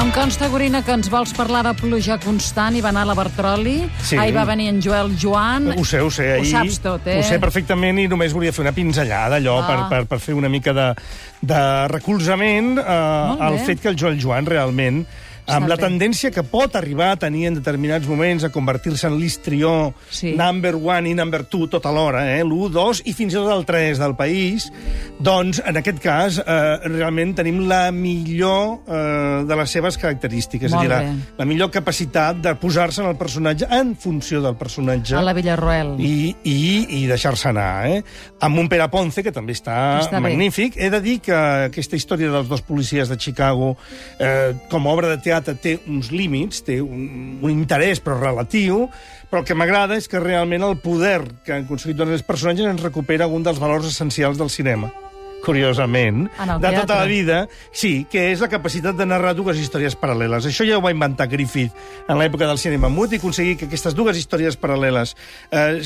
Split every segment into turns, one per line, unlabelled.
Em consta, Gorina, que ens vols parlar de pluja constant. Hi va anar la Bertroli,
Sí.
ahir va venir en Joel Joan...
Ho sé, ho sé.
Ho
Ahir,
saps tot, eh?
Ho sé perfectament i només volia fer una pinzellada, allò, per,
Ah.
per, per fer una mica de, de recolzament eh, al
bé.
fet que el Joel Joan realment amb
Està
la
bé.
tendència que pot arribar a tenir en determinats moments a convertir-se en l'histrió
Sí.
number one i number two tot alhora, eh? l'1, 2 i fins i tot el 3 del país, doncs en aquest cas eh, realment tenim la millor eh, de les seves característiques, és a
Molt
dir,
bé.
la, la millor capacitat de posar-se en el personatge en funció del personatge
A la Villarroel.
i, i, i deixar-se anar, eh? Amb un Pere Ponce, que també està,
Està bé.
magnífic. He de dir que aquesta història dels dos policies de Chicago, eh, com a obra de teatre, té uns límits, té un, un interès, però relatiu, però el que m'agrada és que realment el poder que han aconseguit donar els personatges ens recupera un dels valors essencials del cinema curiosament,
En el
de tota la
teatre.
vida, sí, que és la capacitat de narrar dues històries paral·leles. Això ja ho va inventar Griffith en l'època del cinema mut i aconseguir que aquestes dues històries paral·leles eh,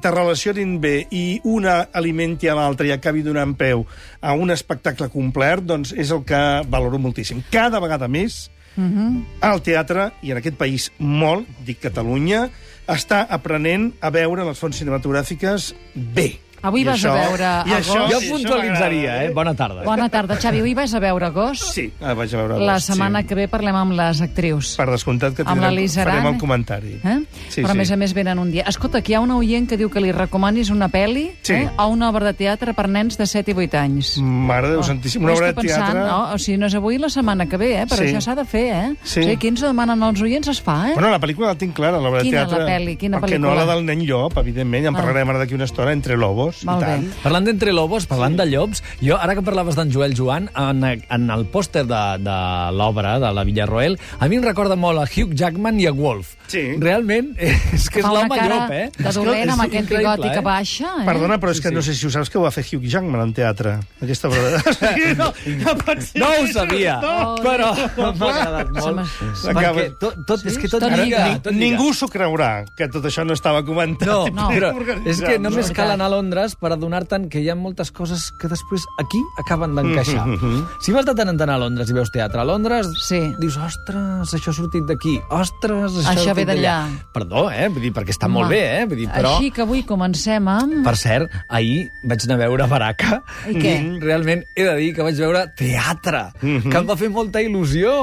s'interrelacionin bé i una alimenti a l'altra i acabi donant peu a un espectacle complet, doncs és el que valoro moltíssim. Cada vegada més,
Mhm.
el teatre, i en aquest país molt, dic Catalunya, està aprenent a veure les fonts cinematogràfiques bé.
Avui
I
vas a veure
i
a
això,
gos.
i
Jo
això
puntualitzaria,
m'agrada,
eh? Bona tarda.
Bona tarda, Xavi. Avui vas a veure Gos.
Sí, ah, vaig a veure
La
Ghost,
setmana
sí.
que ve parlem amb les actrius.
Per descomptat que
Amb la
tindrem,
Liz
farem
Aran,
el comentari.
Eh?
Sí,
Però a
sí.
més a més venen un dia. Escolta, aquí hi ha una oient que diu que li recomanis una pe·li
Sí.
eh, o una obra de teatre per nens de 7 i 8 anys.
Mare de Déu Santíssim, una
Oh. Ho
obra de
estic pensant,
teatre...
No? O sigui, no és avui la setmana que ve, eh? però
Sí.
això s'ha de fer. Eh?
Sí.
O sigui, qui ens ho demanen els oients es fa. Eh?
Bueno, la pel·lícula la tinc clara, l'obra de
Quina, la
teatre.
pel·li? Quina
perquè
pel·lícula? Ah.
no la del nen llop, evidentment, ja en parlarem ara d'aquí una estona, entre lobos,
Molt
i tant.
bé.
Parlant d'entre lobos, parlant de llops, jo, ara que parlaves d'en Joel Joan, en, en el pòster de, de l'obra de la Villarroel, a mi em recorda molt a Hugh Jackman i a Wolf.
Sí.
Realment, és que és
Fa una
l'home
cara
llop, eh?
de
És que
dolent
és
amb aquest
increïble,
bigoti
eh?
que baixa. Eh?
Perdona, però és
Sí,
que
sí.
no sé si ho saps que ho va fer Hugh Jackman en teatre, aquesta obra de... no, no, pot ser.
No ho sabia,
No.
però m'ha agradat molt.
Se
m'ha-
Perquè tot, tot, és que tot
Tot
lliga.
lliga.
Tot lliga.
Ningú s'ho creurà, que tot això no estava comentat.
No.
No, no, però
Organitzat,
és que només
no?
cal anar a Londres per adonar-te'n que hi ha moltes coses que després aquí acaben d'encaixar.
Mhm, mhm.
Si vas de tant en tant a Londres i veus teatre a Londres,
Sí.
dius, ostres, això ha sortit d'aquí, ostres, això,
Això
ha sortit
ve d'allà."
Perdó, eh? Vull dir, perquè està molt
Home,
bé, eh? Vull dir, però...
Així que avui comencem amb...
Per cert, ahir vaig anar a veure Baraka
I què?
realment he de dir que vaig veure teatre, que em va fer molta il·lusió.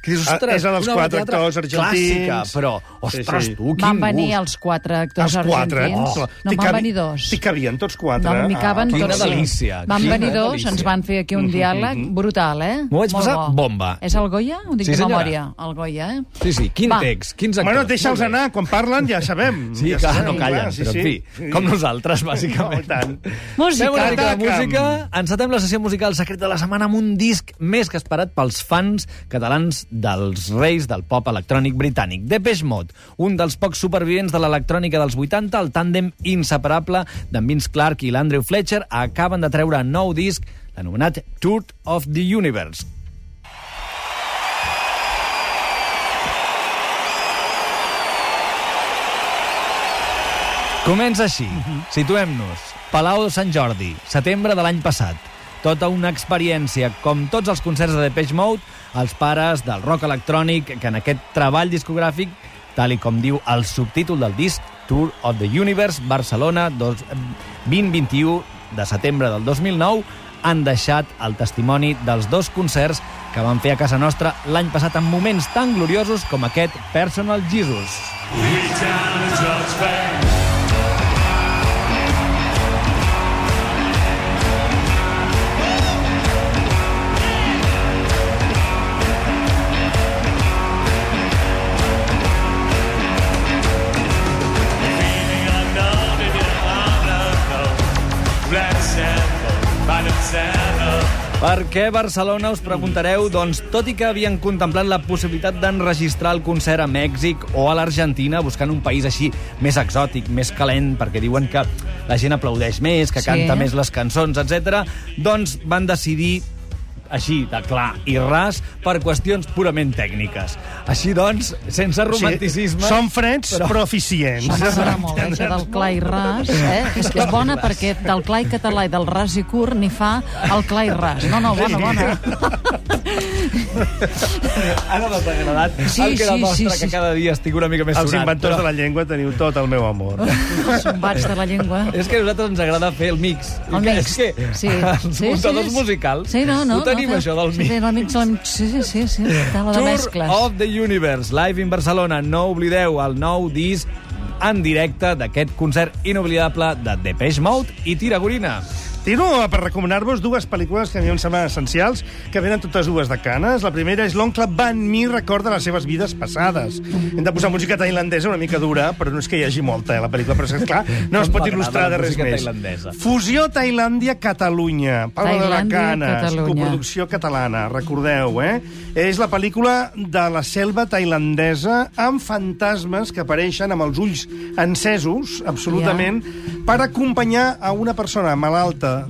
Que dius,
Mm-hmm. Ah,
ostres,
és la dels
una obra de
quatre
teatre
actors argentins.
Clàssica, però,
Sí,
ostres,
sí.
tu, quin
Van venir
gust. eh?
els quatre actors
Els quatre, eh?
argentins.
clar.
No,
T'hi
en van
cabi-
venir dos.
T'hi cabien tots quatre.
No, m'hi caben
quina
tots. sí.
delícia,
Van
quina
venir dos,
delícia. Mm-hmm,
ens van fer aquí un diàleg brutal, eh?
M'ho vaig
Molt
passar
bo.
bomba.
És el Goya? Ho dic
Sí,
de
senyora.
memòria. El Goya, eh?
Sí, sí, quin
Va.
text, quins actors.
Bueno, deixa'ls
Molt bé.
anar, quan parlen ja sabem.
Sí,
ja
clar,
sabem,
no callen,
clar, sí,
però en fi,
sí.
com nosaltres,
No,
bàsicament.
i tant.
Fem una
Música.
mica de
Ataca'm.
música, encetem la sessió musical secret de la setmana amb un disc més que esperat pels fans catalans dels reis del pop electrònic britànic, Depeche Mode, un dels pocs supervivents de l'electrònica dels 80, el tàndem inseparable d'en Vince Clark i l'Andrew Fletcher acaben de treure nou disc, l'anomenat Tour of the Universe, Comença així. Situem-nos. Palau de Sant Jordi, setembre de l'any passat. Tota una experiència, com tots els concerts de Depeche Mode, els pares del rock electrònic, que en aquest treball discogràfic, tal i com diu el subtítol del disc, Tour of the Universe, Barcelona, dos- 2021 de setembre del 2009, han deixat el testimoni dels dos concerts que van fer a casa nostra l'any passat en moments tan gloriosos com aquest Personal Jesus. Per què Barcelona, us preguntareu?
Mm.
Doncs tot i que havien contemplat la possibilitat d'enregistrar el concert a Mèxic o a l'Argentina, buscant un país així més exòtic, més calent, perquè diuen que la gent aplaudeix més, que
Sí.
canta més les cançons, etc. doncs van decidir així, de clar i ras, per qüestions purament tècniques. Així doncs, sense
O sigui,
romanticisme...
Són freds, però, eficients.
Això m'agrada molt, eh, això del clar i ras. Eh? És que és bona perquè del clar i català i del ras i curt n'hi fa el clar i ras. No, no, bona, bona.
Ara m'ha agradat
Sí,
el que
sí,
demostra
sí, sí.
que cada dia estic una mica més
Els
sonat.
inventors de
però
la llengua teniu tot el meu amor.
Els sombats de la llengua.
És que a nosaltres ens agrada fer el mix.
El
Que-
mix.
És que
Sí.
els
Sí,
muntadors
sí, sí.
musicals
Sí, no, no.
ho tenim,
no,
això del
Sí,
mix.
del mix. del mix. Sí, sí, sí, sí. De la de
Tour
mescles.
of the Universe, live in Barcelona. No oblideu el nou disc en directe d'aquest concert inoblidable de Depeche Mode i Tiragorina.
Tiro per recomanar-vos dues pel·lícules que a mi em semblen essencials, que venen totes dues de canes. La primera és l'oncle Van Mi recorda les seves vides passades. Hem de posar música tailandesa una mica dura, però no és que hi hagi molta, eh, la pel·lícula, però és que, clar, no es pot
M'agrada
il·lustrar
la
de res
música
més.
tailandesa.
Fusió Tailàndia-Catalunya. Parla de la
Tailàndia,
canes,
Catalunya.
coproducció catalana, recordeu, eh? És la pel·lícula de la selva tailandesa amb fantasmes que apareixen amb els ulls encesos, absolutament, yeah. per acompanyar a una persona malalta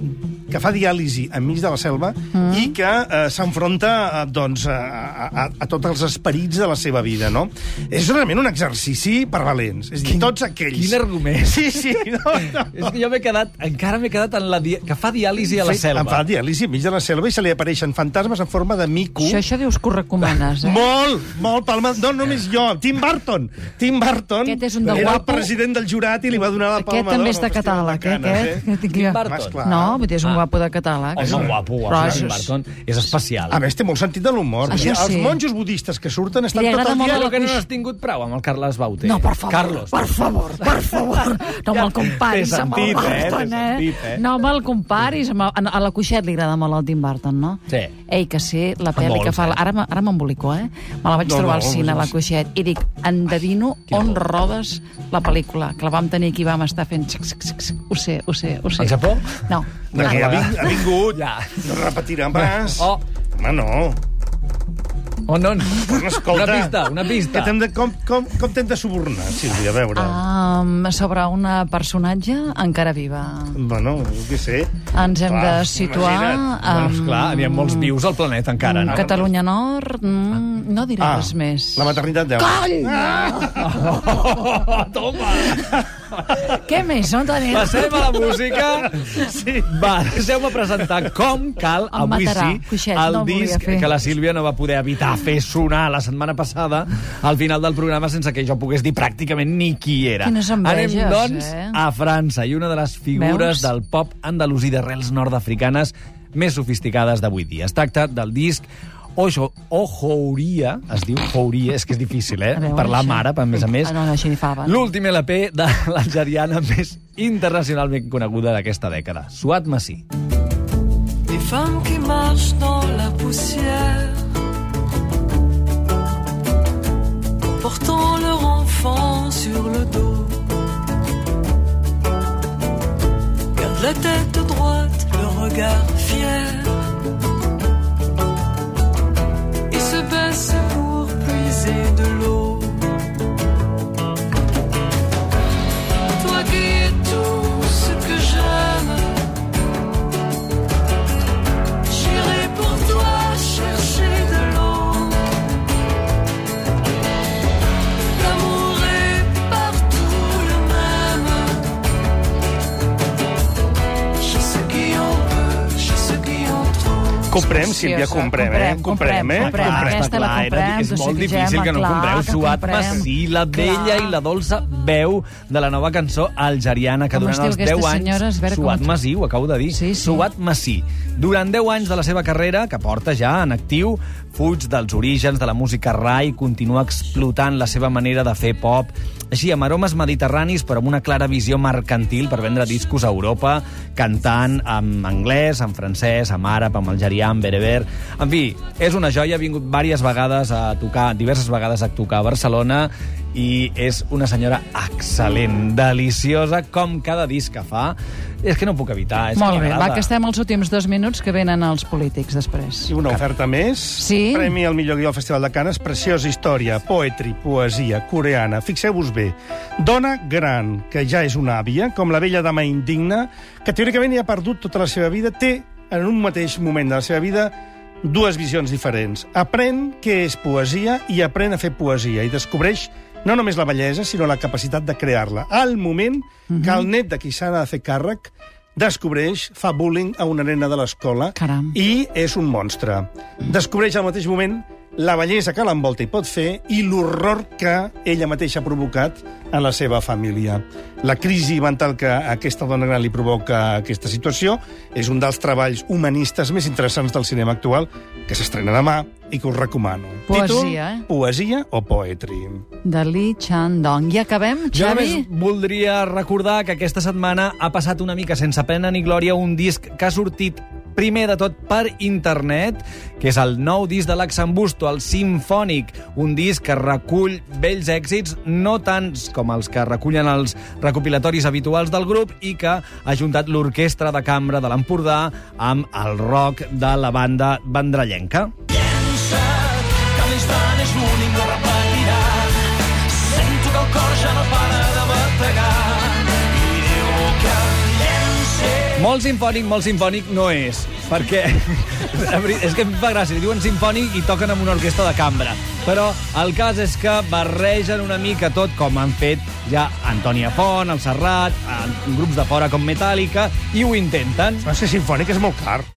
que fa diàlisi enmig de la selva mm. i que eh, s'enfronta eh, doncs, a, a, a, a tots els esperits de la seva vida, no? És realment un exercici per valents. És a dir, tots aquells...
quin argument.
Sí, sí, no, no.
És que jo m'he quedat, encara m'he quedat en la dia, que fa diàlisi a la
Sí,
selva.
Em fa diàlisi enmig de la selva i se li apareixen fantasmes en forma de mico.
Això, això dius que ho recomanes, eh?
Molt, molt pel mal. No, només jo. Tim Burton. Tim Burton
Aquest és un de
era el
guapo.
president del jurat i li va donar la palma
Aquest també
d'or al
és de
Festival
catàleg, eh,
Canes,
aquest. Que tinc jo.
Mas, clar.
No, vull dir, és un guapo de catàleg.
Home, guapo, guapo,
Però
Tim
és-
Burton. És especial.
A més, té molt sentit de l'humor.
Això
Els
sí.
monjos budistes que surten estan
Li
tot
agrada
el
molt
dia...
a
Però
la
que no
cuix-
n'has tingut prou amb el Carles Bauter.
No, per favor,
Carlos.
per favor, per favor. No me'l comparis
Té
amb el
sentit, eh? Té
Burton, eh?
sentit, eh?
No me'l comparis amb el... A la Cuixet li agrada molt el Tim Burton, no?
Sí.
Ei, que sí, la pel·li
molts,
que fa...
eh?
Ara, me- ara m'embolico, eh? Me la vaig
No, no,
trobar al cine,
no,
a la
sí.
Cuixet, i dic, endevino on rodes la pel·lícula, que la vam tenir aquí, vam estar fent... xic, xic, xic, xic. Ho sé, ho sé, ho sé.
Al Japó?
No.
No, que ja vin- ha vingut.
Ja.
No repetirà pas.
Oh.
Home, no.
Oh, no, no.
Bueno, escolta,
Una pista, una pista.
Que t'hem de, com, com, com t'hem de subornar, Sílvia, a veure.
Um, sobre una personatge encara viva.
Bueno, jo què sé.
Ens hem
Clar,
de situar...
imagina't.
amb-
Doncs clar, n'hi ha molts vius al planeta encara, no? Ah,
Catalunya Nord, mm, no diré res més.
Ah, La maternitat deu.
Coll!
Oh, toma!
Què més? No tenim?
Passem a la música. Sí. Va, deixeu-me presentar com cal,
Em
avui
matarà,
sí,
Cuixet,
el
no el volia
disc
fer.
que la Sílvia no va poder evitar fer sonar la setmana passada al final del programa sense que jo pogués dir pràcticament ni qui era.
Quines enveges,
Anem, doncs,
eh?
a França i una de les figures
Veus?
del pop andalusí d'arrels nord-africanes més sofisticades d'avui dia. Es tracta del disc Ojo, Ojouria, es diu Jouria, és que és difícil, eh?
A veure,
Parlar
això.
mare, a més a més.
Ah, no, no, això ni fa abans.
L'últim LP de l'algeriana més internacionalment coneguda d'aquesta dècada, Suat Massi.
Des femmes qui marchent dans la poussière, portant leur enfant sur le dos. Gardent la tête droite, le regard fier, et se baissent pour puiser de l'eau. Toi qui es tout ce que j'aime. J'irai pour toi chercher de l'eau. L'amour est partout le même. Chez ceux qui en veulent, chez ceux qui en trouvent.
Comprem, Sílvia, comprem, eh?
Comprem, comprem,
eh?
comprem.
Comprem.
Aquesta la
Ah, Clar, era-
comprem,
és molt
Josep
difícil
Gemma,
que no
clar,
compreu
que
Suat
comprem.
Massi, la bella
Clar.
i la dolça veu de la nova cançó algeriana que
Com es
durant
diu
els
aquesta
10 anys...
senyora? A veure com
Suat
es-
Massi, ho acabo de dir.
Sí, sí.
Suat Massi. Durant 10 anys de la seva carrera, que porta ja en actiu, fuig dels orígens de la música rai, continua explotant la seva manera de fer pop, així amb aromes mediterranis però amb una clara visió mercantil per vendre discos a Europa, cantant en anglès, en francès, en àrab, en algerià, en bereber... En fi, és una joia, ha vingut diverses vegades a tocar, diverses vegades a tocar a Barcelona i és una senyora excel·lent, deliciosa, com cada disc que fa. És que no puc evitar, és que
Molt bé, va,
m'agrada.
que estem als últims dos minuts que venen els polítics després.
I una oferta més.
Sí.
Premi al millor guió al Festival de Canes. Preciosa història, poetri, poesia, coreana. Fixeu-vos bé. Dona gran, que ja és una àvia, com la vella dama indigna, que teòricament ja ha perdut tota la seva vida, té en un mateix moment de la seva vida dues visions diferents. Aprèn què és poesia i aprèn a fer poesia i descobreix no només
Mhm.
la bellesa, sinó la capacitat de crear-la. Al moment que el net de qui s'ha de fer càrrec descobreix, fa bullying a una nena de l'escola
Caram.
i és un monstre. Descobreix al mateix moment la bellesa que l'envolta i pot fer i l'horror que ella mateixa ha provocat en la seva família. La crisi mental que a aquesta dona gran li provoca aquesta situació és un dels treballs humanistes més interessants del cinema actual que s'estrena demà i que us recomano.
Poesia, eh?
Títol, Poesia o Poetry.
De Lee Chan Dong. I acabem,
Jo
Xavi?
només voldria recordar que aquesta setmana ha passat una mica sense pena ni glòria un disc que ha sortit primer de tot per internet, que és el nou disc de l'Axambusto, el Simfònic, un disc que recull vells èxits, no tants com els que recullen els recopilatoris habituals del grup i que ha juntat l'orquestra de cambra de l'Empordà amb el rock de la banda vendrellenca. Molt simfònic, molt simfònic no és, perquè la veri- és que em fa gràcia, li diuen simfònic i toquen amb una orquestra de cambra. Però el cas és que barregen una mica tot com han fet ja Antònia eh, Font, el Serrat, en grups de fora com Metallica, i ho intenten.
No sé, simfònic és molt car.